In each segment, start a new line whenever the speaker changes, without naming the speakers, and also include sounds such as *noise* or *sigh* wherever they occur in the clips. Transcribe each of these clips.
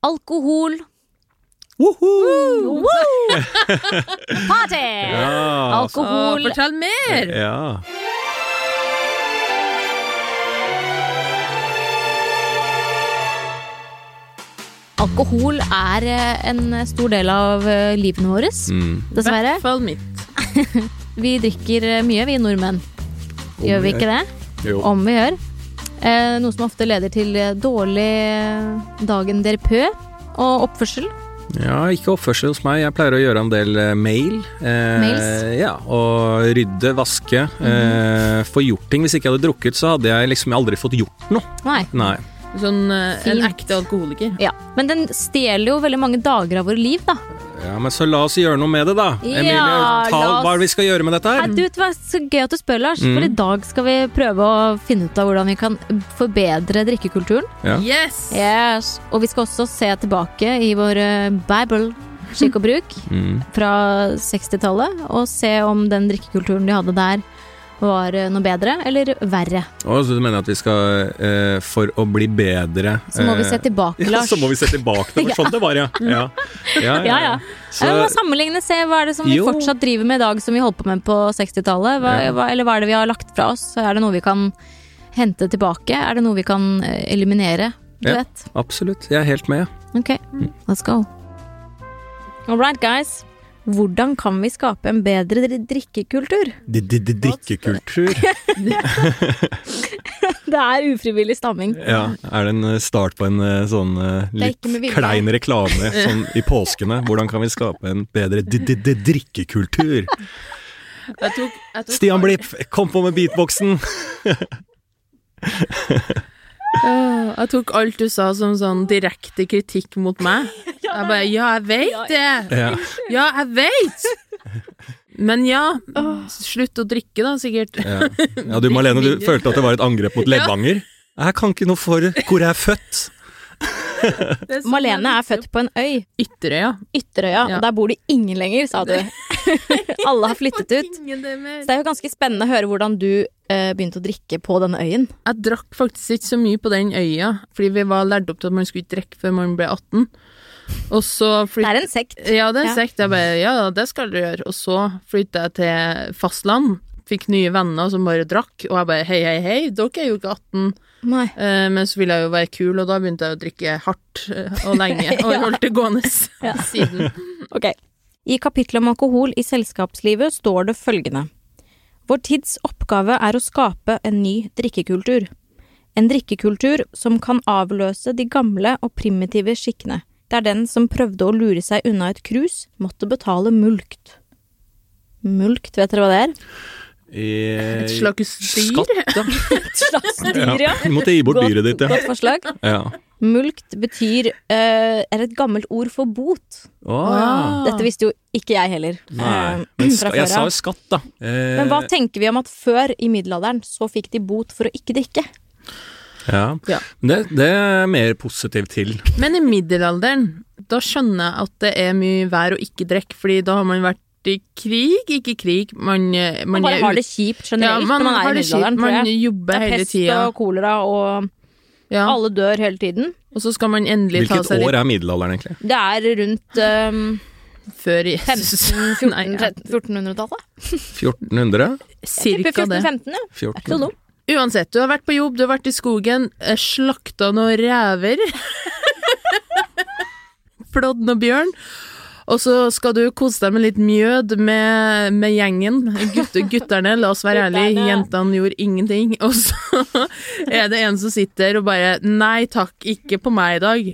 Alkohol.
Woho!
Party!
Ja,
Åh,
Alkohol.
fortell mer!
ja.
Alkohol er eh, en stor del av eh, livene våre,
Mm.
dessverre.
Følg mitt.
Vi drikker eh, mye, vi nordmenn. Gjør vi ikke det?
Jo.
Om vi gjør. Eh, Noe som ofte leder til eh, dårlig eh, dagen derpø og oppførsel.
Ja, ikke oppførsel hos meg. Jeg pleier å gjøre en del eh, mail. Eh,
Mails?
Ja, og rydde, vaske. eh, få gjort ting. Hvis ikke jeg hadde drukket, så hadde jeg liksom aldri fått gjort noe.
Nei.
Nei.
Sånn eh, en
Fint.
ekte alkoholiker.
Ja. Men den stjeler jo veldig mange dager av våre liv, da.
Ja, men så la oss gjøre noe med det, da.
Ja,
Emilie, ta
la oss-
hva er det vi skal gjøre med dette
Nei,
her?
du, det var så gøy at du spør, Lars. For i
Mm.
dag skal vi prøve å finne ut av hvordan vi kan forbedre drikkekulturen.
Ja.
Yes!
Yes. Og vi skal også se tilbake i vår eh, Bible, skikk og bruk,
*laughs* Mm.
fra 60-tallet. Og se om den drikkekulturen de hadde der, var eh, noe bedre eller verre.
Og så du mener at vi skal, eh, for å bli bedre
Så må vi se
eh,
tilbake,
*laughs* ja,
Lars. Mm.
så må vi se tilbake.
*laughs*
Det var sånn det var, ja. Ja, ja.
Ja, ja.
Så,
Ja, vi må Eh, sammenligne, se hva er det som vi
Jo.
fortsatt driver med i dag som vi holdt på med på 60-tallet. Hva,
Ja.
hva, eller hva er det vi har lagt fra oss? Er det noe vi kan hente tilbake? Er det noe vi kan eh, eliminere? Du
Ja.
vet.
absolutt. Jeg er helt med.
Ok, let's go. All right, guys. Hvordan kan vi skape en bedre dri- drikkekultur?
Drikkekultur.
*laughs* Det er ufrivillig stamming.
Ja, er det en eh, start på en eh, sånn eh,
er
litt
ikke med vilje.
klein
*laughs*
reklame sånn i påskene? Hvordan kan vi skape en bedre d -d -d
*laughs*
drikkekultur?
Jeg tok, jeg tok
Stian Blipp, kom på med beatboxen!
Åh, Jeg tok alt du sa som sånn direkte kritikk mot meg. Jeg bare Ja, jeg veit det!
*laughs* Ja.
Ja, jeg veit! Men ja, slutt å drikke, da, sikkert.
Ja. ja, du Malene,
*laughs*
du følte at det var et angrep mot Levanger? Jeg kan ikke noe for hvor jeg er født.
Malene er født på en øy,
Ytterøya.
Ytterøya,
Ja.
og der bor det ingen lenger, sa *laughs* du. Alle har flyttet ut. Så det er jo ganske spennende å høre hvordan du eh, begynte å drikke på denne øyen.
Jeg drakk faktisk ikke så mye på den øya, fordi vi var lært opp til at man skulle ikke drikke før man ble 18. Og så
Det
flytta
er en sekt.
Ja, det er
Ja.
sekt. Jeg bare Ja, det skal du gjøre. Og så flytta jeg til fastland. Fikk nye venner som bare drakk, og jeg bare hei, hei, hei, dere er jo ikke 18.
Nei.
Eh, Men så ville jeg jo være kul, og da begynte jeg å drikke hardt eh, og
*laughs*
lenge, og holdt det gående siden.
Ok. I kapitlet om alkohol i selskapslivet står det følgende. Vår tids oppgave er å skape en ny drikkekultur. En drikkekultur som kan avløse de gamle og primitive skikkene, der den som prøvde å lure seg unna et krus, måtte betale mulkt. Mulkt, vet dere hva det er?
Et
Et slags dyr.
Skatt, ja.
Et slags *laughs* dyr,
ja. Du måtte gi bort dyret ditt, ja.
Godt forslag.
ja.
Mulkt betyr eh, er et gammelt ord for bot.
Å, ja.
Dette visste jo ikke jeg heller. eh,
Nei, men
fra
ska, jeg
før
sa
av.
jo skatt, da. Eh,
Men hva tenker vi om at før, i middelalderen, så fikk de bot for å ikke drikke?
Eh, ja.
Ja.
Det, det er mer positivt til.
Men i middelalderen, da skjønner jeg at det er mye vær å ikke drikke, fordi da har man vært i krig, ikke krig, man, eh,
Man,
man
bare
er
har det
ut-
kjipt
ja,
generelt
man
når man
har
er i
det kjipt,
middelalderen, tror
man
jeg. Det
jobber
er
hele
pest
tida.
og kolera, og
Ja.
alle dør hele tiden.
Og så skal man endelig ta
Hvilket
seg
år er middelalderen, egentlig?
Det er rundt ehm,
*laughs*
øhm,
litt før *laughs* Jesus.
14,
Nei, ja.
13, 1400-tallet.
1400?
Tipper
Cirka det. Mm.
1415, ja. Er ikke
14.
så dumt.
Uansett, du har vært på jobb, du har vært i skogen, eh, slakta noen rever, *laughs* flådd noen bjørn, og så skal du kose deg med litt mjød med, med gjengen, Gutte, gutterne, la oss være ærlige,
Gutterne.
jentene gjorde ingenting, *laughs* og så er det en som sitter og bare, nei takk, ikke på meg i dag,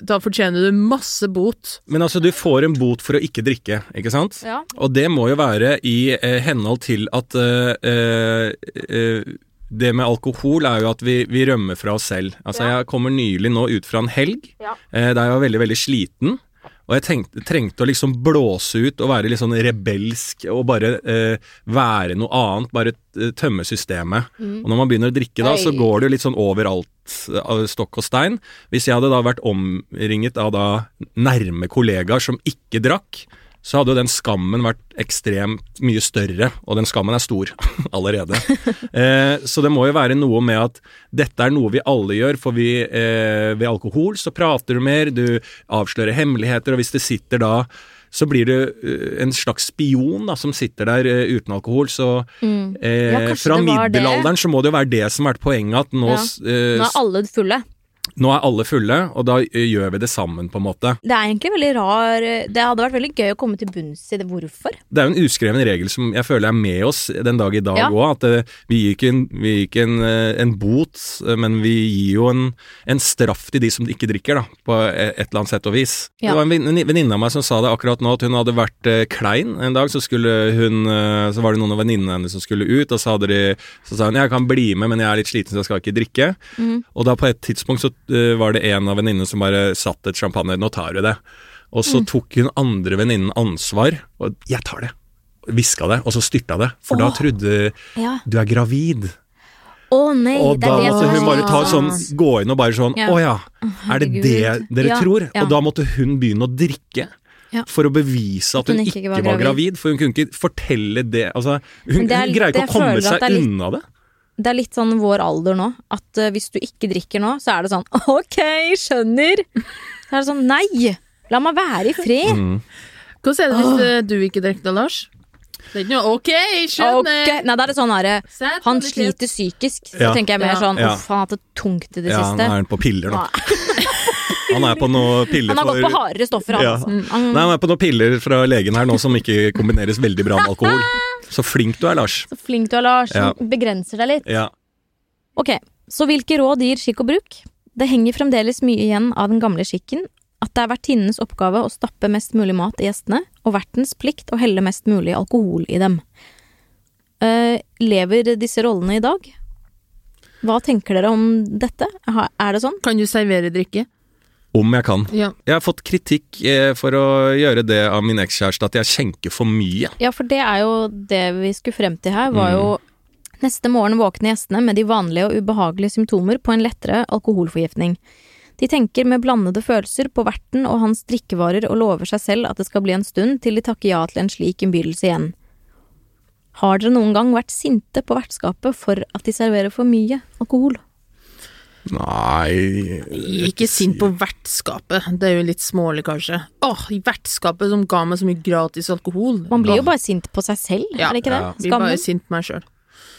da fortjener du masse bot.
Men altså, du får en bot for å ikke drikke, ikke sant?
Ja.
Og det må jo være i eh, henhold til at eh, eh, eh, det med alkohol er jo at vi, vi rømmer fra oss selv. Altså, jeg kommer nylig nå ut fra en helg
Ja.
eh, der jeg var veldig, veldig sliten. Og jeg tenkte, trengte å liksom blåse ut og være litt sånn rebelsk og bare eh, være noe annet. Bare eh, tømme systemet. Og når man begynner å drikke da, så
Mm. Oi.
går det jo litt sånn overalt av stokk og stein. Hvis jeg hadde da vært omringet av da nærme kollegaer som ikke drakk, så hadde jo den skammen vært ekstremt mye større, og den skammen er stor *laughs*
*laughs*
allerede. Eh, så det må jo være noe med at dette er noe vi alle gjør, for vi, eh, ved alkohol så prater du mer, du avslører hemmeligheter, og hvis det sitter da så blir du eh, en slags spion da, som sitter der eh, uten alkohol. Så eh,
Mm. Ja, kanskje
fra
det var det.
middelalderen så må det jo være det som har vært poenget, at nå,
Ja.
s- eh,
Nå er alle fulle.
nå er alle fulle, og da eh, gjør vi det sammen, på en måte.
Det er egentlig veldig rar Det hadde vært veldig gøy å komme til bunns i det. Hvorfor?
Det er jo en uskreven regel som jeg føler er med oss den dag i dag
Ja.
òg, at eh, vi gir ikke, en, vi gir ikke en, eh, en bot, eh, men vi gir jo en, en straff til de som ikke drikker, da, på eh, et eller annet sett og vis.
Ja.
Det var en venni- venninne av meg som sa det akkurat nå, at hun hadde vært eh, klein en dag, så, skulle hun, eh, så var det noen av venninnene hennes som skulle ut, og så, hadde de, så sa hun jeg kan bli med, men jeg er litt sliten, så jeg skal ikke drikke.
Mhm.
Og da på et tidspunkt så eh, var det en av venninnene som bare satt et champagne, nå tar du det. Og
Mm.
så tok hun andre venninnen ansvar, og jeg tar det. Hviska det, og så styrta det. For da
Åh.
trodde
Ja.
du er gravid.
Å nei,
Og
det
da
er det
måtte
som er
hun
så
bare ta sånn,
interessant.
gå inn og bare sånn
Ja.
Å ja, er det det
herregud.
dere
Ja,
tror?
ja.
Og da måtte hun begynne å drikke.
Ja.
For å bevise at hun, ikke, var, gravid. for hun kunne ikke fortelle det altså, Hun,
Men det er
hun
litt-
greier ikke
jeg
å komme
føler at
seg
det er litt-
unna det.
Det er litt sånn vår alder nå, at eh, hvis du ikke drikker nå, så er det sånn *laughs* ok, skjønner. Så er det sånn nei, la meg være i fred.
Mm.
Hvordan er det hvis eh, du ikke drikker det, Lars? Det er ikke noe OK, skjønner!
Ok. Nei, da er det sånn herre
Sæd,
Han
kvalitet.
sliter psykisk, så
Ja.
tenker jeg mer
Ja.
sånn
Ja.
uff, han har hatt det tungt i det
Ja, nå
siste.
er hun på piller nå. *laughs* Han er på noen piller
Han har gått på
for
hardere stoffer, han.
Ja.
altså.
Nei, han er på noen piller fra legen her nå som ikke kombineres veldig bra med alkohol. Så flink du er, Lars.
Så flink du er, Lars.
Ja.
som Begrenser deg litt.
Ja.
Ok, Så hvilke råd gir skikk og bruk? Det henger fremdeles mye igjen av den gamle skikken. At det er vertinnenes oppgave å stappe mest mulig mat i gjestene, og vertens plikt å helle mest mulig alkohol i dem. Eh, lever disse rollene i dag? Hva tenker dere om dette? Ha- Er det sånn?
Kan du servere drikke?
Om jeg kan.
Ja.
Jeg har fått kritikk eh, for å gjøre det av min ekskjæreste at jeg skjenker for mye.
Ja, for det er jo det vi skulle frem til her, var jo Neste morgen våkner gjestene med de vanlige og ubehagelige symptomer på en lettere alkoholforgiftning. De tenker med blandede følelser på verten og hans drikkevarer og lover seg selv at det skal bli en stund til de takker ja til en slik innbydelse igjen. Har dere noen gang vært sinte på vertskapet for at de serverer for mye alkohol?
Nei
Ikke sint på vertskapet, det er jo litt smålig kanskje. Åh, vertskapet som ga meg så mye gratis alkohol.
Man blir jo bare sint på seg selv,
Ja.
er det ikke det?
Ja.
Blir bare
Skammen.
sint på meg sjøl.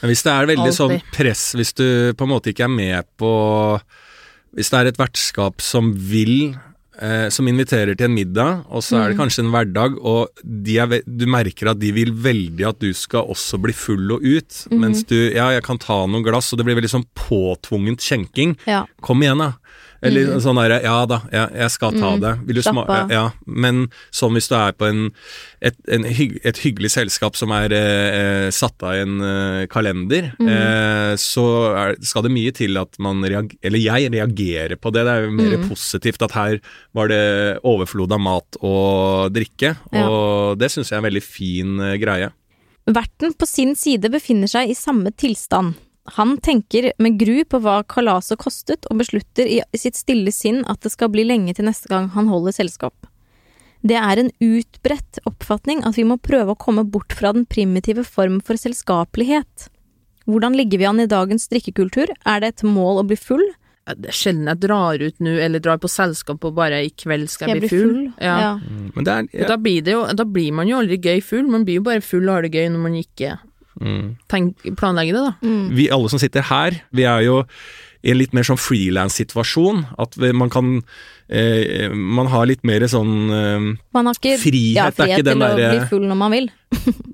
Men Hvis det er veldig
Alltid.
sånn press, hvis du på en måte ikke er med på Hvis det er et vertskap som vil eh, som inviterer til en middag, og så er det kanskje en hverdag, og de er, ve- du merker at de vil veldig at du skal også bli full og ut, mens du Ja, jeg kan ta noen glass, og det blir veldig sånn påtvungent skjenking.
Ja.
Kom igjen, da. Eller sånn derre Ja da, jeg, jeg skal ta det. Vil du
Mm. Slapp
sma-
av.
Ja, men sånn hvis du er på en, et, en hygg, et hyggelig selskap som er eh, eh, satt av i en eh, kalender,
Mm.
eh, så er, skal det mye til at man reagerer Eller jeg reagerer på det. Det er jo mer
Mm.
positivt at her var det overflod av mat og drikke, og det syns jeg er en veldig fin eh, greie.
Verten på sin side befinner seg i samme tilstand. Han tenker med gru på hva kalaset kostet, og beslutter i sitt stille sinn at det skal bli lenge til neste gang han holder selskap. Det er en utbredt oppfatning at vi må prøve å komme bort fra den primitive form for selskapelighet. Hvordan ligger vi an i dagens drikkekultur? Er det et mål å bli full?
Det er sjelden jeg drar ut nå, eller drar på selskap og bare i kveld skal jeg, bli full. Ja.
Ja.
Men det er ja.
Da, blir det jo, da blir man jo aldri gøy full, man blir jo bare full og har det gøy når man ikke
Mm.
tenk, planlegger det, da.
vi alle som sitter her, vi er jo i en litt mer sånn frilans-situasjon. At vi- man kan eh, Man har litt mer sånn eh,
Man har ikke
Frihet
ja,
er ikke den eh,
til
derre-
å bli full når man vil.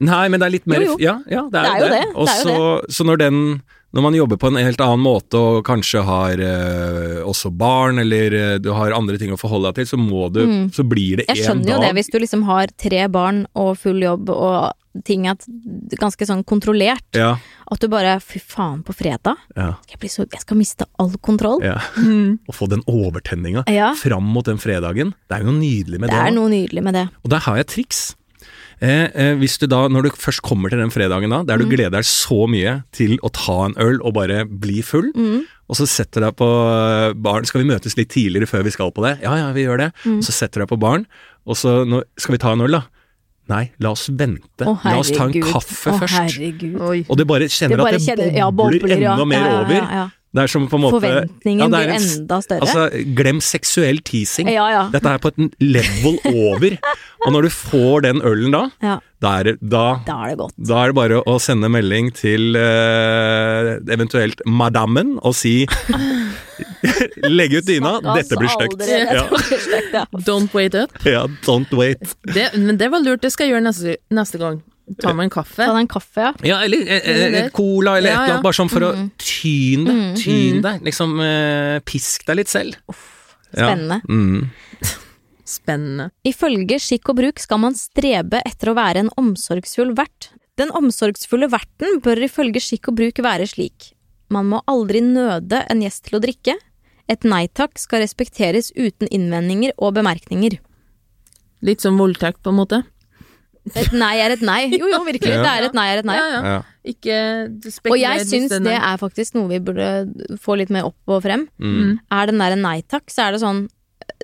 Nei, men det er litt mer
Jo, jo.
Ja, ja det, er
Det er jo det, det
Og
er jo
så- Så når den når man jobber på en helt annen måte og kanskje har eh, også barn, eller eh, du har andre ting å forholde deg til, så må du Så blir det
Mm. Jeg
én
skjønner jo det
dag
hvis du liksom har tre barn og full jobb og ting at ganske sånn kontrollert.
Ja,
At du bare fy faen, på fredag
ja,
skal jeg, bli så, jeg skal miste all kontroll.
ja. Å få den overtenninga
Mm. Ja.
fram mot den fredagen, det er jo noe nydelig med det.
Det
da.
er noe nydelig med det.
Og der har jeg et triks. Eh, eh, hvis du da, når du først kommer til den fredagen da, der
Mm.
du gleder deg så mye til å ta en øl og bare bli full,
Mm.
og så setter du deg på eh, baren, skal vi møtes litt
Mm.
tidligere før vi skal på det? Ja, ja, vi gjør det. Og så setter du deg på baren, og så nå, skal vi ta en øl da? Nei, la oss vente.
Å,
la oss ta en
herregud.
kaffe
Å,
først.
herregud.
Oi.
Og det bare
Det
kjenner
bare
at det
kjenner-
bobler,
ja, bobler, ja.
enda mer
Ja, ja, ja,
over.
ja.
Det er som på en måte
Forventningen
Ja, det er
blir
en s-
enda større.
Altså, glem seksuell teasing.
Ja, ja.
Dette er på et n- level over. Og når du får den ølen da,
ja,
da er det, da,
da er det godt.
da er det bare å sende melding til eh, eventuelt madammen og si *laughs* Legg ut dyna, dette
altså,
blir stygt.
Ja.
Ja, *laughs*
Don't wait up.
ja, don't wait.
Det, men det var lurt, det skal jeg gjøre neste, neste gang. Ta meg en kaffe.
Ta deg en kaffe, ja.
Ja, eller eh, eh,
Eller det.
cola eller et eller
Ja, ja. Mm-hmm.
annet, bare sånn for å tyne deg. Tyne deg. Liksom eh, pisk deg litt selv. Ja.
Spennende.
Mm.
Spennende.
Ifølge Skikk og bruk skal man strebe etter å være en omsorgsfull vert. Den omsorgsfulle verten bør ifølge Skikk og bruk være slik. Man må aldri nøde en gjest til å drikke. Et nei takk skal respekteres uten innvendinger og bemerkninger.
Litt som voldtekt, på en måte.
Et nei er et nei. Jo, jo, virkelig.
Ja.
Det er et nei er et nei.
Ja, ja.
Ja.
Ikke
Og
spekuler
jeg
hvis
syns
den
det er faktisk noe vi burde få litt mer opp og frem.
Mm.
Er den der nei takk, så er det sånn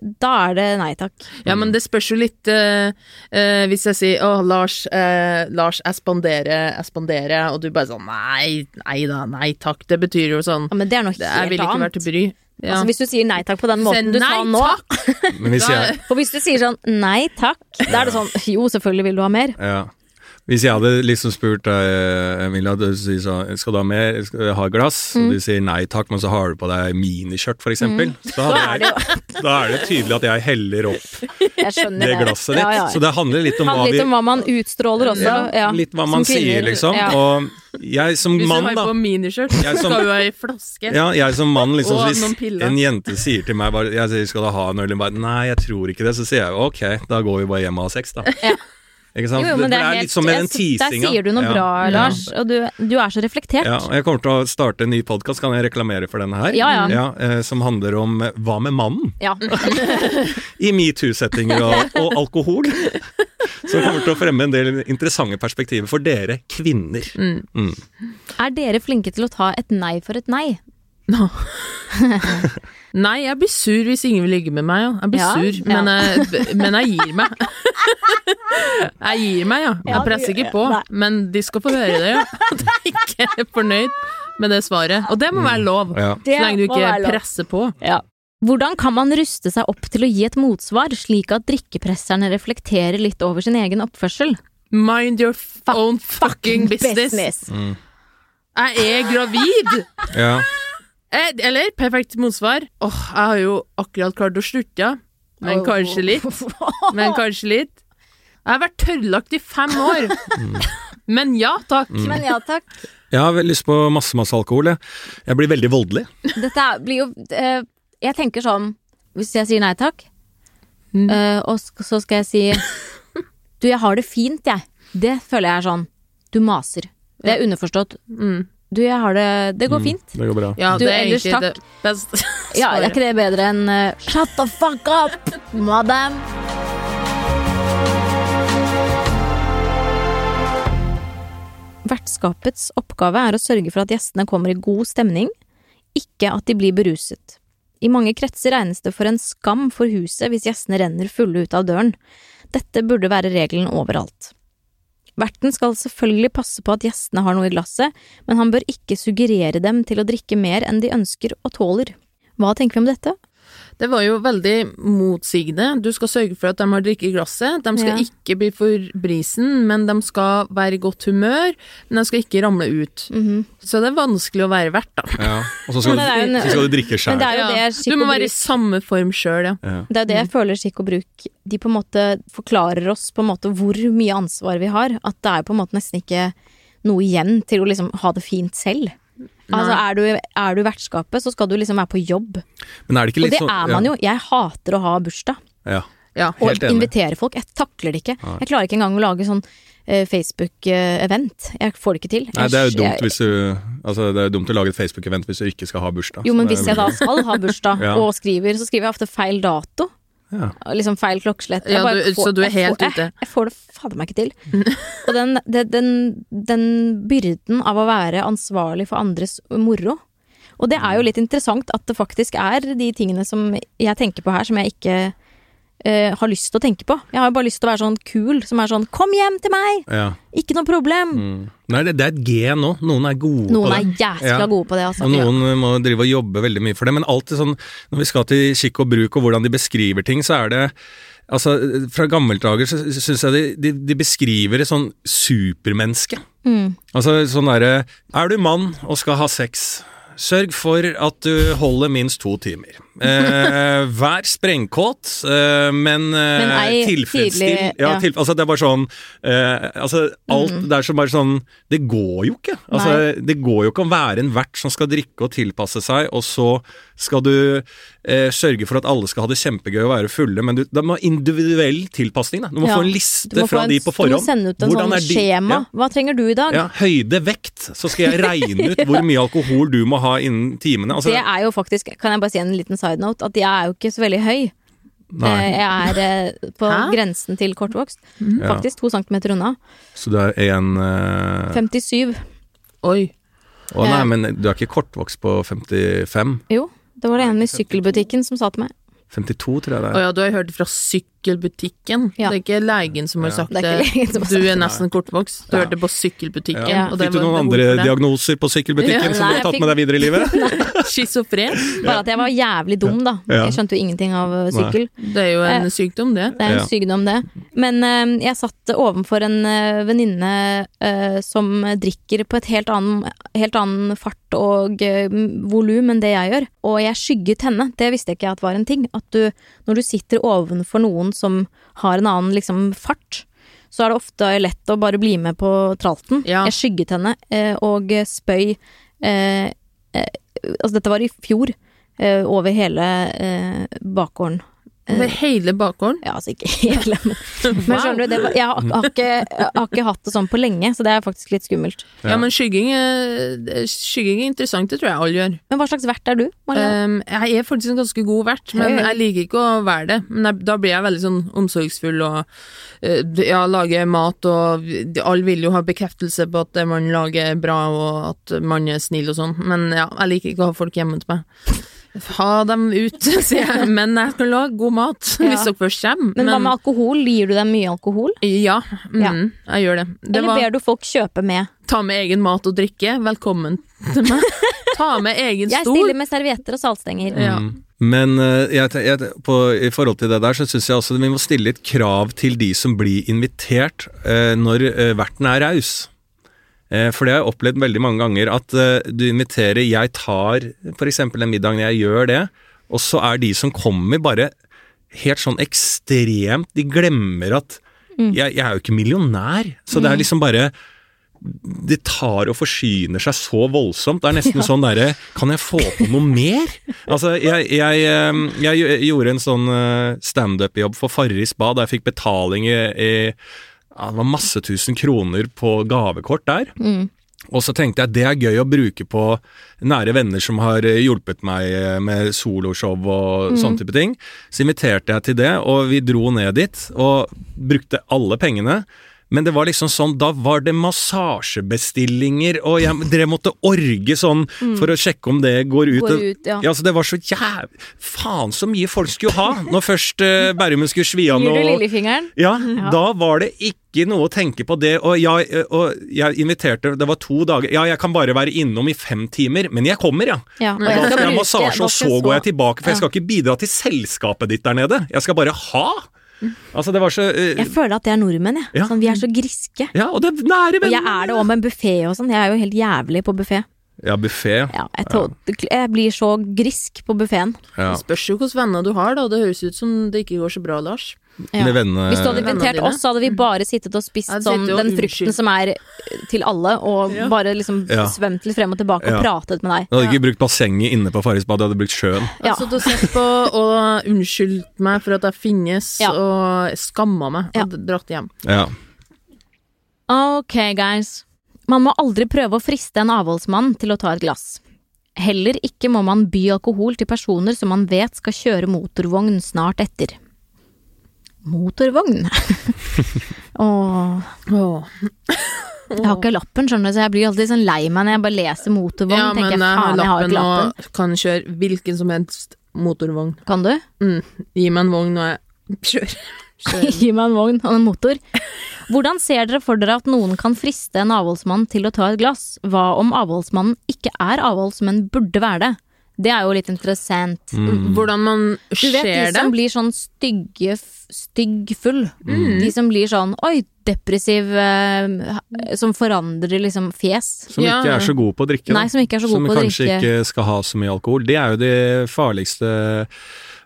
Da er det nei takk.
Ja, men det spørs jo litt eh, eh, Hvis jeg sier 'Å, Lars, eh, Lars, jeg spanderer, jeg spanderer', og du bare sånn 'Nei, nei da, nei takk', det betyr jo sånn
Ja, men det er noe
Jeg
helt
ville ikke
annet.
vært til bry. Ja.
Altså, hvis du sier nei takk på den måten du sa nå
takk!
Men hvis
Da-
jeg
For hvis du sier sånn nei takk, da er det sånn jo, selvfølgelig vil du ha mer.
Ja. Hvis jeg hadde liksom spurt deg, Emilia, du sier sånn, skal du ha mer, skal du ha glass? Og
Mm.
du sier nei takk, men så har du på deg miniskjørt for eksempel. Så hadde jeg, da er det tydelig at jeg heller opp
Jeg skjønner
det glasset ditt.
Ja, ja.
Så det handler litt om hva
handler
vi...
litt om hva man utstråler også. Ja,
Litt hva
som
man sier,
kvinner.
liksom.
Ja.
Og jeg som
Hvis
mann,
du
da.
har på miniskjørt,
Jeg
så
som-
skal du ha ei flaske.
Ja, jeg som mann, liksom,
Og
hvis
noen piller.
en jente sier til meg bare, Jeg sier, skal du ha en øl? Hun bare, Nei, jeg tror ikke det. Så sier jeg jo ok, da går vi bare hjem og har sex, da. Ikke sant?
Jo, jo, men det er helt,
litt som med den
jeg- Der
teasinga.
sier du noe
Ja.
bra, Lars, og du, du er så reflektert.
Ja, og jeg kommer til å starte en ny podkast, kan jeg reklamere for denne her?
Ja, ja.
eh, som handler om eh, hva med mannen?
Ja.
I metoo-settinger
*laughs*
og, og alkohol. Som kommer til å fremme en del interessante perspektiver for dere kvinner.
Mm. Er dere flinke til å ta et nei for et nei?
Nå. Nei, jeg blir sur hvis ingen vil ligge med meg. Ja. Jeg blir
Ja,
sur,
ja.
men, jeg, men jeg gir meg. *laughs* Jeg gir meg, ja.
Ja,
Jeg
du
presser
gjør
ikke
det.
på,
Nei.
men de skal få høre
*laughs*
det, ja. *laughs* At jeg ikke er fornøyd med det svaret. Og det må være lov,
Ja.
Det
så lenge du
må være lov.
ikke presser på.
Hvordan kan man ruste seg opp til å gi et motsvar, slik at drikkepresserne reflekterer litt over sin egen oppførsel?
Mind your f own fucking business.
Mm.
Jeg er gravid!
Ja.
Eh, Eller perfekt motsvar. Åh, jeg har jo akkurat klart å slutte, ja. men kanskje litt.
*laughs*
Men kanskje litt. Jeg har vært tørrlagt i fem år.
Mm.
Men ja takk.
Men ja takk.
Jeg har veldig lyst på masse, masse alkohol. Jeg, jeg blir veldig voldelig.
Dette er- blir jo eh, Jeg tenker sånn Hvis jeg sier nei takk, eh, og sk- så skal jeg si Du, jeg har det fint, jeg. Det føler jeg er sånn Du maser. Det er underforstått. Du, jeg har det Det går fint.
Det går bra.
Ja,
Du,
det er
ellers
egentlig
takk.
det *laughs* beste
Ja, er ikke det bedre enn eh, Shut the fuck up, madam! Vertskapets oppgave er å sørge for at gjestene kommer i god stemning, ikke at de blir beruset. I mange kretser regnes det for en skam for huset hvis gjestene renner fulle ut av døren. Dette burde være regelen overalt. Verten skal selvfølgelig passe på at gjestene har noe i glasset, men han bør ikke suggerere dem til å drikke mer enn de ønsker og tåler. Hva tenker vi om dette?
Det var jo veldig motsigende. Du skal sørge for at de har drikke i glasset. De skal
Ja.
ikke bli for brisen, men de skal være i godt humør. Men de skal ikke ramle ut.
Mhm.
Så det er vanskelig å være vert, da.
Ja. Og så skal,
Men det er jo
du,
en-
så skal du drikke
Men
sjæl.
det er jo
Ja.
det skikk
Du må
og
være i
bruk
samme form sjøl, ja.
Det er jo det
Mm.
jeg føler skikk og bruk De på en måte forklarer oss på en måte hvor mye ansvar vi har. At det er på en måte nesten ikke noe igjen til å liksom ha det fint selv. Altså Er du, er du i vertskapet, så skal du liksom være på jobb.
Men er det ikke
Og
litt sånn,
det er man
ja.
jo. Jeg hater å ha bursdag.
Ja.
ja.
Og
Helt enig.
invitere folk. Jeg takler det ikke. Jeg klarer ikke engang å lage sånn eh, Facebook-event. Jeg får det ikke til.
Nei, det er jo
Jeg-
dumt hvis du Altså, det er jo dumt å lage et Facebook-event hvis du ikke skal ha bursdag.
Jo, men
Så det
hvis jeg
er-
da skal ha bursdag
*laughs* Ja.
og skriver, så skriver jeg ofte feil dato.
Ja.
Liksom feil klokkeslett. Jeg
Ja,
bare
du- så du er
jeg
helt
får,
ute.
Jeg, jeg får det fader meg ikke til.
*laughs*
og den, det- den, den byrden av å være ansvarlig for andres moro. Og det er jo litt interessant at det faktisk er de tingene som jeg tenker på her, som jeg ikke eh, har lyst til å tenke på. Jeg har jo bare lyst til å være sånn kul som er sånn 'kom hjem til meg',
Ja.
ikke noe problem.
Mm. Nei, det, det er et gen nå. Noen er gode på
Noen
det.
er jæskla
Ja.
gode på det, altså.
Og noen eh, må drive og jobbe veldig mye for det. Men alltid sånn, når vi skal til kikk og bruk og hvordan de beskriver ting, så er det Altså, eh, fra gammeldager så syns jeg de, de, de beskriver et sånn supermenneske.
Mm.
Altså sånn derre Er du mann og skal ha sex? Sørg for at du holder minst to timer. Eh, *laughs* vær sprengkåt, eh, men, eh,
Men ei
tilfredsstill.
tydelig-
Ja,
ja.
tilf- *laughs* altså, det er bare sånn eh, altså, alt,
Mm.
Det er så bare sånn Det går jo ikke. Altså, det går jo ikke å være en vert som skal drikke og tilpasse seg, og så skal du eh, sørge for at alle skal ha det kjempegøy og være fulle, men du, det må ha individuell tilpasning. Da. Du må
Ja.
få en
Du
liste
må, få
fra
en,
de
du
på
må
forhånd.
sende ut en
Hvordan
sånn
er de-
skjema.
Ja.
Hva trenger du i dag?
Ja, høyde, vekt, så skal jeg regne ut hvor mye alkohol du må ha innen timene. Altså,
det er jo faktisk, kan jeg bare si en liten side note, at jeg er jo ikke så veldig høy. Eh,
nei, Mhm.
Jeg er eh, på
Hæ?
grensen til kortvokst.
Ja.
Faktisk to centimeter unna.
så du er en eh,
57.
Oi.
Å nei, men du er ikke kortvokst på 55?
Jo, det var det en i sykkelbutikken som sa til meg.
52, tror jeg det
Å
er.
ja, du har hørt det fra sykkelbutikken.
Ja.
Det er ikke legen som har
Ja.
sagt
Det
det.
er ikke legen som har
du
sagt
er nesten kortvokst. Du
Ja.
hørte det på sykkelbutikken.
Ja.
og det
Fikk du
var
noen
behov
andre
for det.
diagnoser på sykkelbutikken
Ja,
som du
nei,
har tatt
jeg
med deg videre i
*laughs*
livet?
Schizofren.
Bare at jeg var jævlig dum, da.
Ja.
Jeg skjønte jo ingenting av eh, sykkel.
Det er jo
Eh.
en sykdom, det.
Det er en
Ja.
sykdom, det. Men eh, jeg satt ovenfor en eh, venninne eh, som drikker på et helt annen, helt annen fart og uh, volum enn det jeg gjør. Og jeg skygget henne. Det visste jeg ikke at var en ting. At du, når du sitter ovenfor noen som har en annen liksom, fart, så er det ofte lett å bare bli med på tralten.
Ja.
Jeg skygget henne eh, og spøy eh, eh, Altså, dette var i fjor. eh, over hele eh, bakgården.
Over hele bakgården.
Ja, altså ikke *laughs* hele, men men skjønner du, det var, jeg, har, har ikke, jeg har ikke hatt det sånn på lenge, så det er faktisk litt skummelt.
Ja, men skygging er, skygging er interessant, det tror jeg alle gjør.
Men hva slags vert er du, Marianne?
Um, jeg er faktisk en ganske god vert, men
Hei.
jeg liker ikke å være det. Men jeg, da blir jeg veldig sånn omsorgsfull og eh, ja, lager mat, og de- alle vil jo ha bekreftelse på at det man lager er bra, og at man er snill og sånn. Men ja, jeg liker ikke å ha folk hjemme til meg. Ha dem ut, *laughs* sier jeg. Men jeg skal lage god mat,
Ja.
hvis dere først kommer.
men hva med alkohol? Gir du dem mye alkohol?
Ja, mm,
Ja.
jeg gjør det. det
Eller
var,
ber du folk kjøpe med?
ta med egen mat og drikke. Velkommen til meg. Ta med egen
Jeg
stol.
stiller med servietter og saltstenger.
Ja.
Mm. Men eh, jeg, te- jeg, te- på, i forhold til det der, så syns jeg også vi må stille et krav til de som blir invitert eh, når eh, verten er raus. Eh, for det har jeg opplevd veldig mange ganger, at eh, du inviterer Jeg tar f.eks. den middagen, jeg gjør det, og så er de som kommer, bare helt sånn ekstremt De glemmer at
Mm.
jeg, jeg er jo ikke millionær, så det er liksom bare det tar og forsyner seg så voldsomt. Det er nesten sånn derre Kan jeg få på noe mer? Altså, jeg, jeg, eh, jeg gj- gjorde en sånn eh, standup-jobb for Farris Bad, der jeg fikk betaling i, i ja, Det var masse tusen kroner på gavekort der.
Mm.
Og så tenkte jeg at det er gøy å bruke på nære venner som har eh, hjulpet meg eh, med soloshow og
Mm.
sånne type ting. Så inviterte jeg til det, og vi dro ned dit og brukte alle pengene. Men det var liksom sånn, da var det massasjebestillinger, og jeg, dere måtte orge sånn for å sjekke om det går ut.
Mm. Går ut, ja.
Ja, altså Det var så jæv... Faen så mye folk skulle ha! Når først uh, Berrumen skulle svi av
Gir du
noe
lillefingeren?
ja, da var det ikke noe å tenke på det, og jeg, og jeg inviterte, det var to dager, ja, jeg kan bare være innom i fem timer, men jeg kommer, ja.
Ja, og
Og
jeg
da skal jeg ha
bruke-
massasje,
da
og
skal
så
jeg
går jeg tilbake, for jeg skal ikke bidra til selskapet ditt der nede, jeg skal bare ha. Altså, det var så... eh,
Jeg føler at det er nordmenn, jeg.
Ja.
Sånn, vi er så griske.
Ja, og det er nære
Og jeg er det òg med buffé og sånn. Jeg er jo helt jævlig på buffé.
Ja, buffet.
Ja, jeg, tå- jeg blir så grisk på buffeen.
Ja.
Det spørs jo hvilke venner du har, da. Det høres ut som det ikke går så bra, Lars.
Ja.
Med vennene-
Hvis du hadde invitert
Vennene dine.
oss, så hadde vi bare sittet og spist
Ja, det
sånn
sitter jo
den
unnskyld.
frukten som er til alle, og bare liksom
Ja.
svømt litt frem og tilbake og
Ja.
pratet med deg.
Jeg hadde ikke brukt bassenget inne på Farris bad, jeg hadde brukt sjøen.
Ja.
Altså, du har sett på og unnskyldt meg for at jeg finnes,
Ja.
og skamma meg og
Ja.
d- dratt hjem.
Ja.
Ok, guys. Man må aldri prøve å friste en avholdsmann til å ta et glass. Heller ikke må man by alkohol til personer som man vet skal kjøre motorvogn snart etter. Motorvogn? *laughs* Åh, jeg har ikke lappen, skjønner du, så jeg blir alltid sånn lei meg når jeg bare leser motorvogn.
Ja, men
tenker jeg,
jeg har
faen, jeg har
lappen
ikke lappen.
og kan kjøre hvilken som helst motorvogn.
Kan du?
Mm. Gi meg en vogn, og jeg Kjør.
*laughs* Gi meg en vogn og en motor. Hvordan ser dere for dere at noen kan friste en avholdsmann til å ta et glass? Hva om avholdsmannen ikke er avholds, men burde være det? Det er jo litt interessant.
Hvordan man
Du vet de
ser Mm. det.
som blir sånn stygge, f- stygg full. De som blir sånn oi, depressiv eh, ha- Som forandrer liksom fjes.
Som
Ja.
ikke er så gode på å drikke. da.
Nei, som ikke er så gode
som
på å
kanskje
drikke.
ikke skal ha så mye alkohol. Det er jo de farligste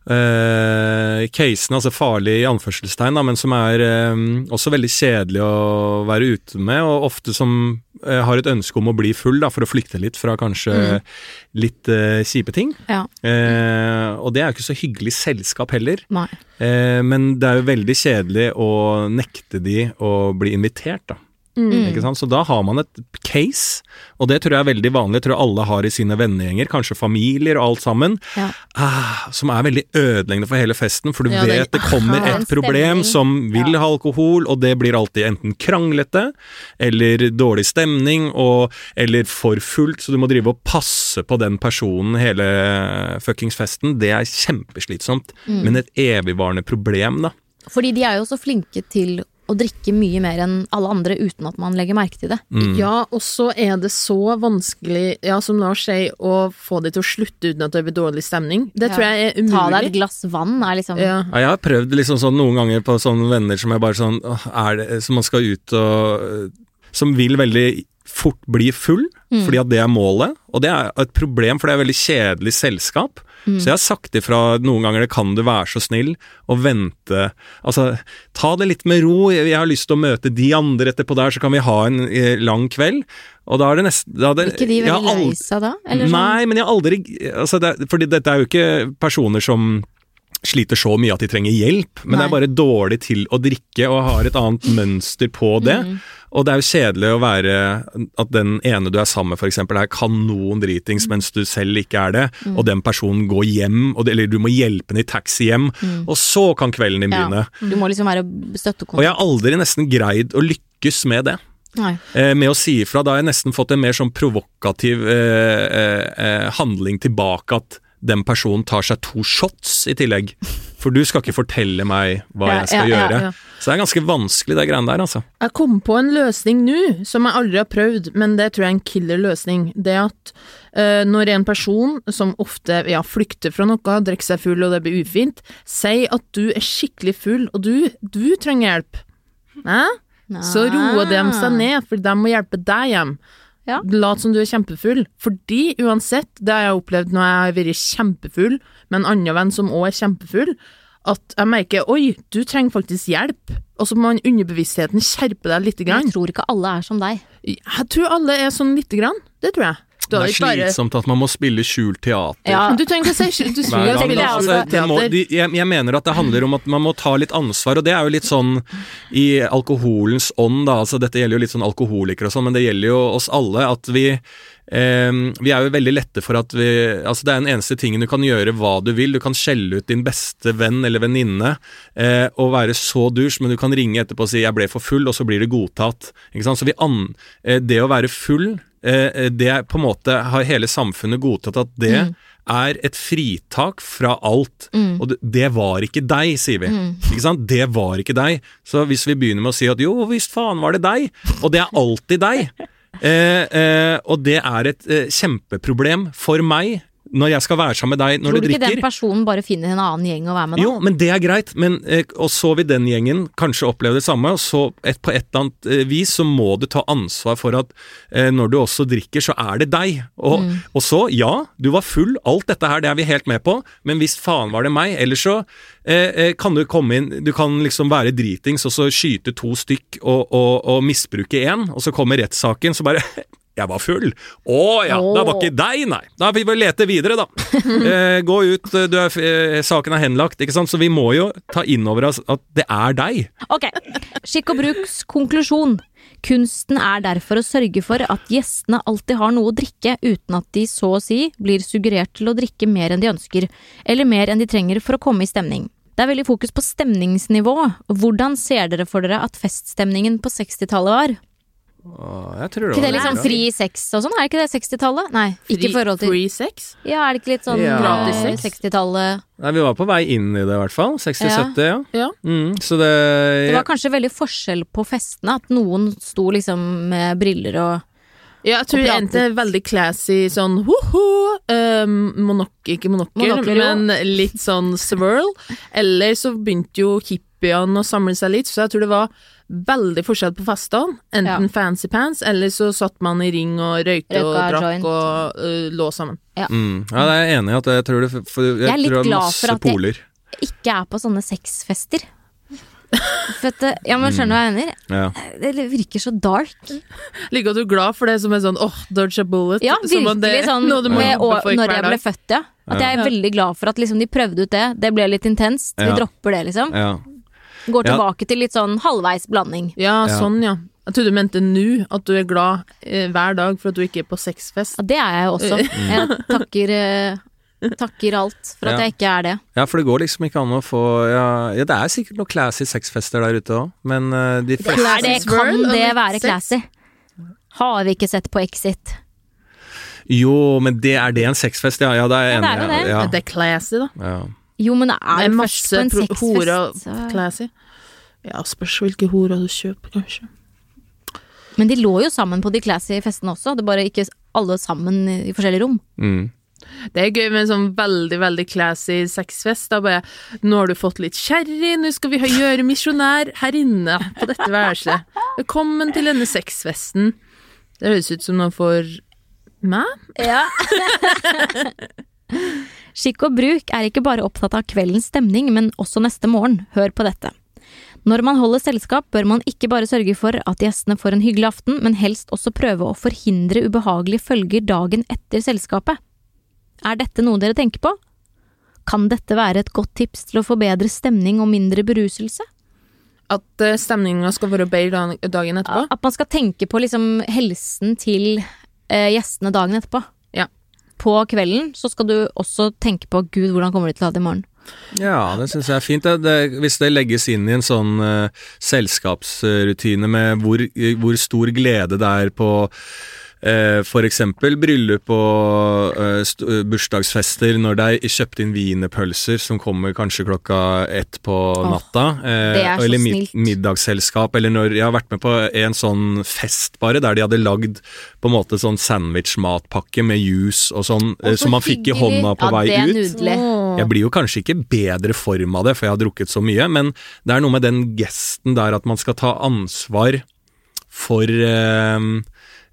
eh, casene, altså farlig i anførselstegn, da, men som er eh, også veldig kjedelig å være ute med, og ofte som eh, har et ønske om å bli full da, for å flykte litt fra kanskje
Mm.
litt eh, kjipe ting.
Ja,
Eh, og det er jo ikke så hyggelig selskap heller,
nei.
eh, men det er jo veldig kjedelig å nekte de å bli invitert, da. Ikke sant? Så da har man et case, og det tror jeg er veldig vanlig, jeg tror alle har i sine vennegjenger, kanskje familier og alt sammen,
Ja.
ah, som er veldig ødeleggende for hele festen, for du
Ja, det-
vet det kommer
Aha.
et problem
Stemning.
som vil ha alkohol, og det blir alltid enten kranglete, eller dårlig stemning, og, eller for fullt, så du må drive og passe på den personen hele fuckings festen. Det er kjempeslitsomt,
Mm.
men et evigvarende problem, da.
Fordi de er jo så flinke til å drikke mye mer enn alle andre uten at man legger merke til det.
Ja, og så er det så vanskelig, ja, som Lars sier, å få det til å slutte uten at det blir dårlig stemning. Det tror jeg er umulig.
Ta deg et glass vann er liksom
Mm. Ja.
Ja, jeg har prøvd liksom sånn noen ganger på sånne venner som jeg bare sånn «Åh, er det, Som man skal ut og øh, Som vil veldig fort bli full,
Mm.
fordi at det er målet. Og det er et problem, for det er veldig kjedelig selskap.
Mm.
Så jeg har sagt ifra noen ganger det kan du være så snill å vente Altså, ta det litt med ro, jeg jeg har lyst til å møte de andre etterpå der, så kan vi ha en eh, lang kveld. Og da er det nesten da er
Blir
det,
ikke de
jeg har
veldig
aldri-
lei seg da? Eller sånn?
Nei, men jeg har aldri altså det, er- Fordi dette er jo ikke personer som sliter så mye at de trenger hjelp, men det
Nei.
er bare dårlig til å drikke og har et annet mønster på det.
Mm.
Og det er jo kjedelig å være at den ene du er sammen med f.eks. er kanon dritings, mens du selv ikke er det,
Mm.
og den personen går hjem, og det, eller du må hjelpe henne i taxi hjem, og så kan kvelden din begynne.
Mm. Ja. Du må liksom være
Og
støttekontakt.
jeg har aldri nesten greid å lykkes med det.
Nei.
Eh, med å si ifra. Da har jeg nesten fått en mer sånn provokativ eh, eh, eh, handling tilbake, at den personen tar seg to shots i tillegg. For du skal ikke fortelle meg hva
Ja,
jeg skal
ja, ja,
gjøre.
ja.
Så det er ganske vanskelig, det greiene der, altså.
Jeg kom på en løsning nå, som jeg aldri har prøvd, men det tror jeg er en killer løsning. Det at eh, når en person, som ofte ja, flykter fra noe, drikker seg full og det blir ufint, sier at du er skikkelig full, og du, du trenger hjelp, Hæ? så roer de seg ned, for de må hjelpe deg hjem.
Ah. Ja.
Lat som du er kjempefull, fordi uansett, det har jeg opplevd når jeg har vært kjempefull med en annen venn som òg er kjempefull, at jeg merker oi, du trenger faktisk hjelp. Og så må man underbevisstheten skjerpe deg lite
Men
grann.
Jeg tror ikke alle er som deg.
Jeg tror alle er sånn lite grann, det tror jeg.
Det
Du, har
er
ikke bare-
slitsomt at man må spille skjult teater.
Ja.
du trenger ikke å si du
Hver
spiller
gang.
spiller
Men Altså, det må,
teater.
de, jeg, jeg mener at det handler om at man må ta litt ansvar, og det er jo litt sånn i alkoholens ånd, da. Altså, dette gjelder jo litt sånn alkoholikere og sånn, men det gjelder jo oss alle at vi eh, vi er jo veldig lette for at vi Altså, det er den eneste tingen du kan gjøre hva du vil. Du kan skjelle ut din beste venn eller venninne eh, og være så dusj, men du kan ringe etterpå og si 'jeg ble for full', og så blir det godtatt. Ikke sant? Så vi an, eh, det å være full, eh, eh, det er på en måte har hele samfunnet godtatt at det
Mm.
er et fritak fra alt. Og det, det var ikke deg, sier vi.
Mm.
Ikke sant? Det var ikke deg. Så hvis vi begynner med å si at jo visst faen var det deg, og det er alltid
*laughs*
deg, eh, eh, og det er et eh, kjempeproblem for meg når jeg skal være sammen med deg når
Tror
du
du ikke
drikker.
den personen bare finner en annen gjeng å være med da?
Jo, men det er greit, men, eh, og så vil den gjengen kanskje oppleve det samme, og så et, på et eller annet eh, vis så må du ta ansvar for at eh, når du også drikker, så er det deg. Og, og så, ja, du var full, alt dette her, det er vi helt med på, men hvis faen var det meg, ellers så eh, eh, kan du komme inn, du kan liksom være dritings og så skyte to stykk og, og, og misbruke én, og så kommer rettssaken, så bare *laughs* Jeg var full. Å ja, det var ikke deg, nei. Da får vi lete videre,
*laughs*
da. Eh, gå ut, eh, du er, f- eh, saken er henlagt, ikke sant? Så vi må jo ta inn over oss at det er deg.
Ok. Skikk og bruks konklusjon. Kunsten er derfor å sørge for at gjestene alltid har noe å drikke, uten at de så å si blir suggerert til å drikke mer enn de ønsker, eller mer enn de trenger for å komme i stemning. Det er veldig fokus på stemningsnivå. Hvordan ser dere for dere at feststemningen på 60-tallet var?
Åh, jeg
Ikke
tror det var
det litt
veldig
sånn
bra.
fri sex og sånn? Er ikke det 60-tallet? Nei, ikke i forhold til
Free sex?
Ja, er det ikke litt sånn
Ja.
eh,
Gratis sex. Eh.
60-tallet
Nei, vi var på vei inn i det, i hvert fall. 60-70, ja.
Ja.
Mm, så det,
Det var kanskje veldig forskjell på festene, at noen sto liksom med briller og
Ja, jeg tror
Og
det
pratet.
endte veldig classy sånn ho-ho, eh, monok- ikke monokker,
Monokler, jo.
men litt sånn swirl. Eller så begynte jo hippiene å samle seg litt, så jeg tror det var veldig forskjell på festene. Enten
Ja.
fancy pants, eller så satt man i ring og røykte
Røyka
og drakk
joint.
og eh, lå sammen.
mm, ja, det er jeg enig i. At jeg tror det, for, jeg
er litt
tror det
glad
masse
for at jeg-
poler.
ikke er på sånne
*laughs*
sexfester. For at, det- ja, men skjønner du hva jeg mener? Eh,
Ja.
Det virker så dark.
Like at du er glad for det som er sånn åh, dodge a bullet.
Ja,
som om det
virkelig
er
sånn
noe du må
med
jobbe
å,
for
når
hver
jeg ble
dag.
født, ja. At jeg er
Ja.
veldig glad for at liksom, de prøvde ut det. Det ble litt intenst. Vi
Ja.
dropper det, liksom.
ja.
Eh,
Går
Ja.
tilbake til litt sånn halvveis blanding.
Ja,
Ja.
sånn, ja. Jeg trodde du mente nå, at du er glad eh, hver dag for at du ikke er på sexfest.
Ja, det er jeg jo også.
Mm.
Jeg takker, eh, takker alt for at
Ja.
jeg ikke er det.
ja, for det går liksom ikke an å få ja, ja, det er sikkert noen classy sexfester der ute òg, men eh, de fleste
Er det kan
World
det
of
være
sex?
classy? Har vi ikke sett på Exit?
Jo, men det er det en sexfest, ja. Ja, det er jeg
Ja, det er
enig
jo
i.
det.
Ja,
Men Det er classy, da.
ja.
Jo, men
Det
er
er
du først på
masse
en
pro- horer og
sexfest? så-
classy. Ja, spørs hvilke horer du kjøper, kanskje.
Men de lå jo sammen på de classy festene også, det bare ikke alle sammen i forskjellige rom.
Mm.
Det er gøy med en sånn veldig, veldig classy sexfest. Da bare Nå har du fått litt sherry, nå skal vi ha- gjøre misjonær her inne på dette værelset. Velkommen til denne sexfesten. Det høres ut som noe for meg.
Ja. Skikk og bruk er ikke bare opptatt av kveldens stemning, men også neste morgen. Hør på dette. Når man holder selskap, bør man ikke bare sørge for at gjestene får en hyggelig aften, men helst også prøve å forhindre ubehagelige følger dagen etter selskapet. Er dette noe dere tenker på? Kan dette være et godt tips til å få bedre stemning og mindre beruselse?
At eh, stemninga skal være bedre dan- dagen etterpå.
At man skal tenke på liksom helsen til eh, gjestene dagen etterpå.
Ja.
På kvelden så skal du også tenke på Gud, hvordan kommer de til å ha det i morgen?
Ja, det syns jeg er fint. Det, det, hvis det legges inn i en sånn eh, selskapsrutine med hvor, eh, hvor stor glede det er på uh, f.eks. bryllup og eh, st eh, bursdagsfester, når det er kjøpt inn wienerpølser som kommer kanskje klokka ett på natta. eh,
det er så
eller mid-
snilt.
middagsselskap, eller når jeg har vært med på en sånn fest bare, der de hadde lagd på en måte sånn sandwich-matpakke med juice og sånn, eh, som man fikk i hånda på vei
ja, det er
ut.
Nydelig.
Åh.
Jeg blir jo kanskje ikke bedre form av det, for jeg har drukket så mye, men det er noe med den gesten der at man skal ta ansvar for eh,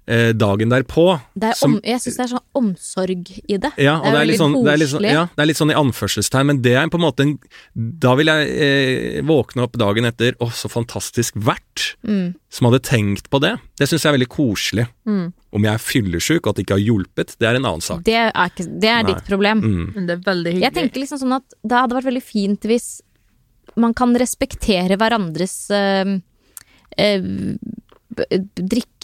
eh, dagen derpå.
Det er
som-
om, jeg syns det er sånn omsorg i det.
ja, og det er, litt sånn, det, er litt sånn,
koselig.
ja, det er litt sånn i anførselstegn, men det er på en måte en Da vil jeg eh, våkne opp dagen etter Å, så fantastisk vert
Mm.
som hadde tenkt på det. Det syns jeg er veldig koselig.
hmm,
Om jeg er fyllesyk og at det ikke har hjulpet, det er en annen sak.
Det er, ikke, det er ditt problem.
Mm.
Men det er veldig hyggelig.
Jeg tenker liksom sånn at det hadde vært veldig fint hvis man kan respektere hverandres eh, eh, b-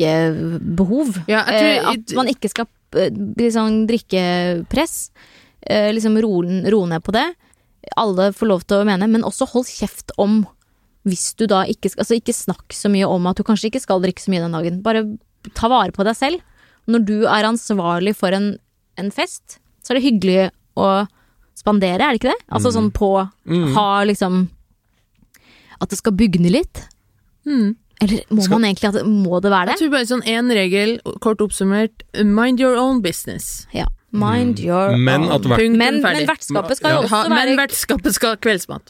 drikkebehov.
Ja, jeg tror-
Eh, at man ikke skal eh, bli sånn drikkepress. Eh, liksom roe roe ned på det. Alle får lov til å mene, men også hold kjeft om hvis du da ikke skal Altså ikke snakk så mye om at du kanskje ikke skal drikke så mye den dagen. Bare ta vare på deg selv. Når du er ansvarlig for en, en fest, så er det hyggelig å spandere, er det ikke det? Altså sånn på Ha liksom At det skal bugne litt.
Mm.
Eller må
Skal-
man egentlig at det, Må det være
Jeg
det?
tror bare sånn én regel, kort oppsummert, mind your own business.
Ja. Mind your
Mm. Men at
own.
hvert
Punktum
Men, men
ferdig.
vertskapet skal jo
Ja.
også være
ha, men vertskapet skal ha kveldsmat.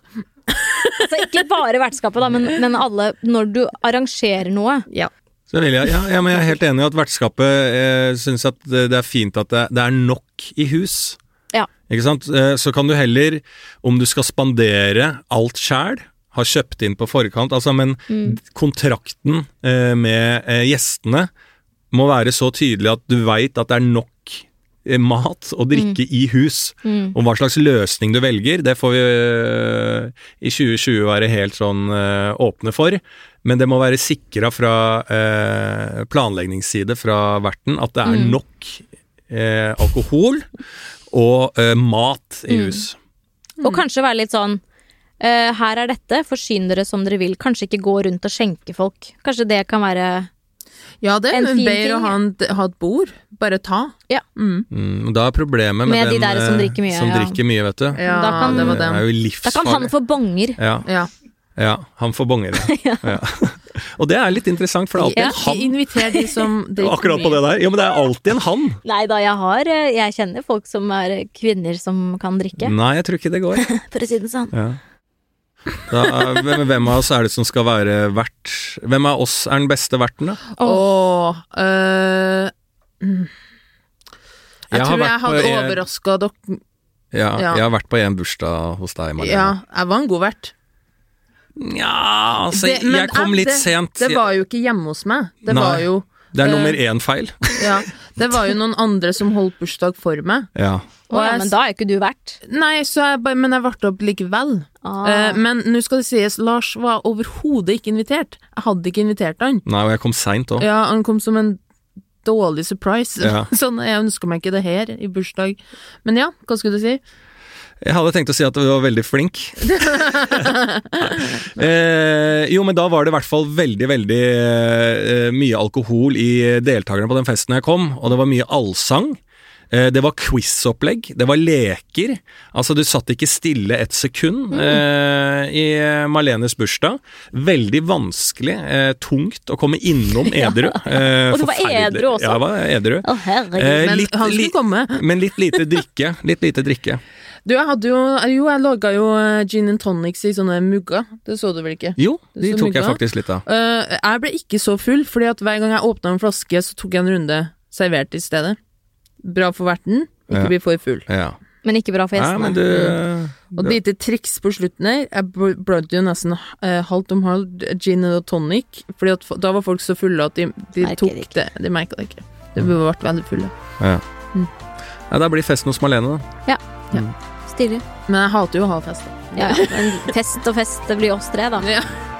altså, Ikke bare vertskapet, da, men, men alle Når du arrangerer noe.
Ja.
Så vil jeg, ja, ja, men jeg er helt enig i at vertskapet eh, syns at det, det er fint at det, det er nok i hus.
Ja.
Ikke sant? Eh, Så kan du heller, om du skal spandere alt sjæl, ha kjøpt inn på forkant, altså, men kontrakten eh, med eh, gjestene må være så tydelig at du veit at det er nok eh, mat og
Mm.
drikke i hus. Og hva slags løsning du velger, det får vi eh, i 2020 være helt sånn eh, åpne for. Men det må være sikra fra eh, planleggingsside fra verten at det er
Mm.
nok eh, alkohol og eh, mat i
Mm.
hus.
Og kanskje være litt sånn eh, Her er dette, forsyn dere som dere vil. Kanskje ikke gå rundt og skjenke folk. Kanskje det kan være
Ja, det
En
er
fin
bedre å
ting.
ha, en, ha et bord. Bare ta.
Ja.
Mm.
Mm, da er problemet med,
Med de
den
der som
eh,
drikker mye,
som
ja.
drikker mye, vet du. Mm,
ja
Da kan-
det var
Det
den.
er jo
Da kan han
livsfarlig.
få banger.
Ja,
Ja.
ja, han får bonger.
*laughs*
ja. Ja. Og det er litt interessant, for det er
Ja.
alltid
Ikke inviter de som
*laughs* en han akkurat på det der. Ja, men det er alltid en han.
Nei da, jeg har eh, Jeg kjenner folk som er eh, kvinner som kan drikke,
Nei, jeg tror ikke det
*laughs*
går.
for å si det sånn.
Ja. Da, hvem, hvem av oss er det som skal være vert? Hvem av oss er den beste verten, da?
Åh, øh, mm. Jeg,
Jeg har
tror jeg
vært på
hadde
en-
overraska dere
Ja,
Ja.
Jeg har vært på en bursdag hos deg,
Ja,
Marlene.
jeg var en god vert.
Nja, altså,
Det- men
jeg kom
jeg-
litt
det-
sent.
Det var jo ikke hjemme hos meg. Det var
Nei.
jo
Det er
eh,
nummer
*laughs*
én-feil.
Ja, det var jo noen andre som holdt bursdag for meg.
Ja.
Å ja,
jeg-
men da er jo ikke du vert.
Nei, så jeg, bare- men jeg ble opp likevel.
Ah.
Eh, men nå skal det sies, Lars var overhodet ikke invitert. Jeg hadde ikke invitert han.
Nei, og jeg kom seint òg.
Ja, han kom som en dårlig surprise.
Ja.
*laughs* sånn, jeg ønsker meg ikke det her i bursdag. Men ja, hva skulle du si?
Jeg hadde tenkt å si at du var veldig
*laughs*
flink. eh, jo, men da var det i hvert fall veldig, veldig eh, mye alkohol i deltakerne på den festen jeg kom, og det var mye allsang. Eh, Det var quiz-opplegg, det var leker. Altså, du satt ikke stille et sekund
Mm.
eh, i Marlenes bursdag. Veldig vanskelig, eh, tungt å komme
*laughs*
innom edru. Eh,
Og du var
forferdelig.
edru også.
Ja, jeg var edru.
Å, herregud.
Eh,
Men
litt-
han skulle
litt-
komme.
Men litt lite drikke. Litt lite drikke.
Du, jeg hadde jo Jo, jeg laga jo eh, gin and tonics i sånne mugger. Det så du vel ikke?
*laughs*
Jo, de
Så
tok jeg
mugga.
faktisk litt av.
Eh, jeg ble ikke så full, fordi at hver gang jeg åpna en flaske, så tok jeg en runde servert i stedet. Bra for verten, ikke
Ja.
bli for full.
Ja.
Men ikke bra for
Nei,
gjestene.
men du
Og et lite triks på slutten her. Jeg bl- blødde jo nesten eh, halvt om halvt gin og tonic, Fordi at fo- da var folk så fulle at de, de
Merker
tok
det ikke.
det. De merka det ikke. De ble veldig fulle.
Nei, da blir festen hos Malene, da.
Stilig.
Men jeg hater jo å ha fest. da.
Ja, ja. Men fest og fest, det blir oss tre, da.
Ja.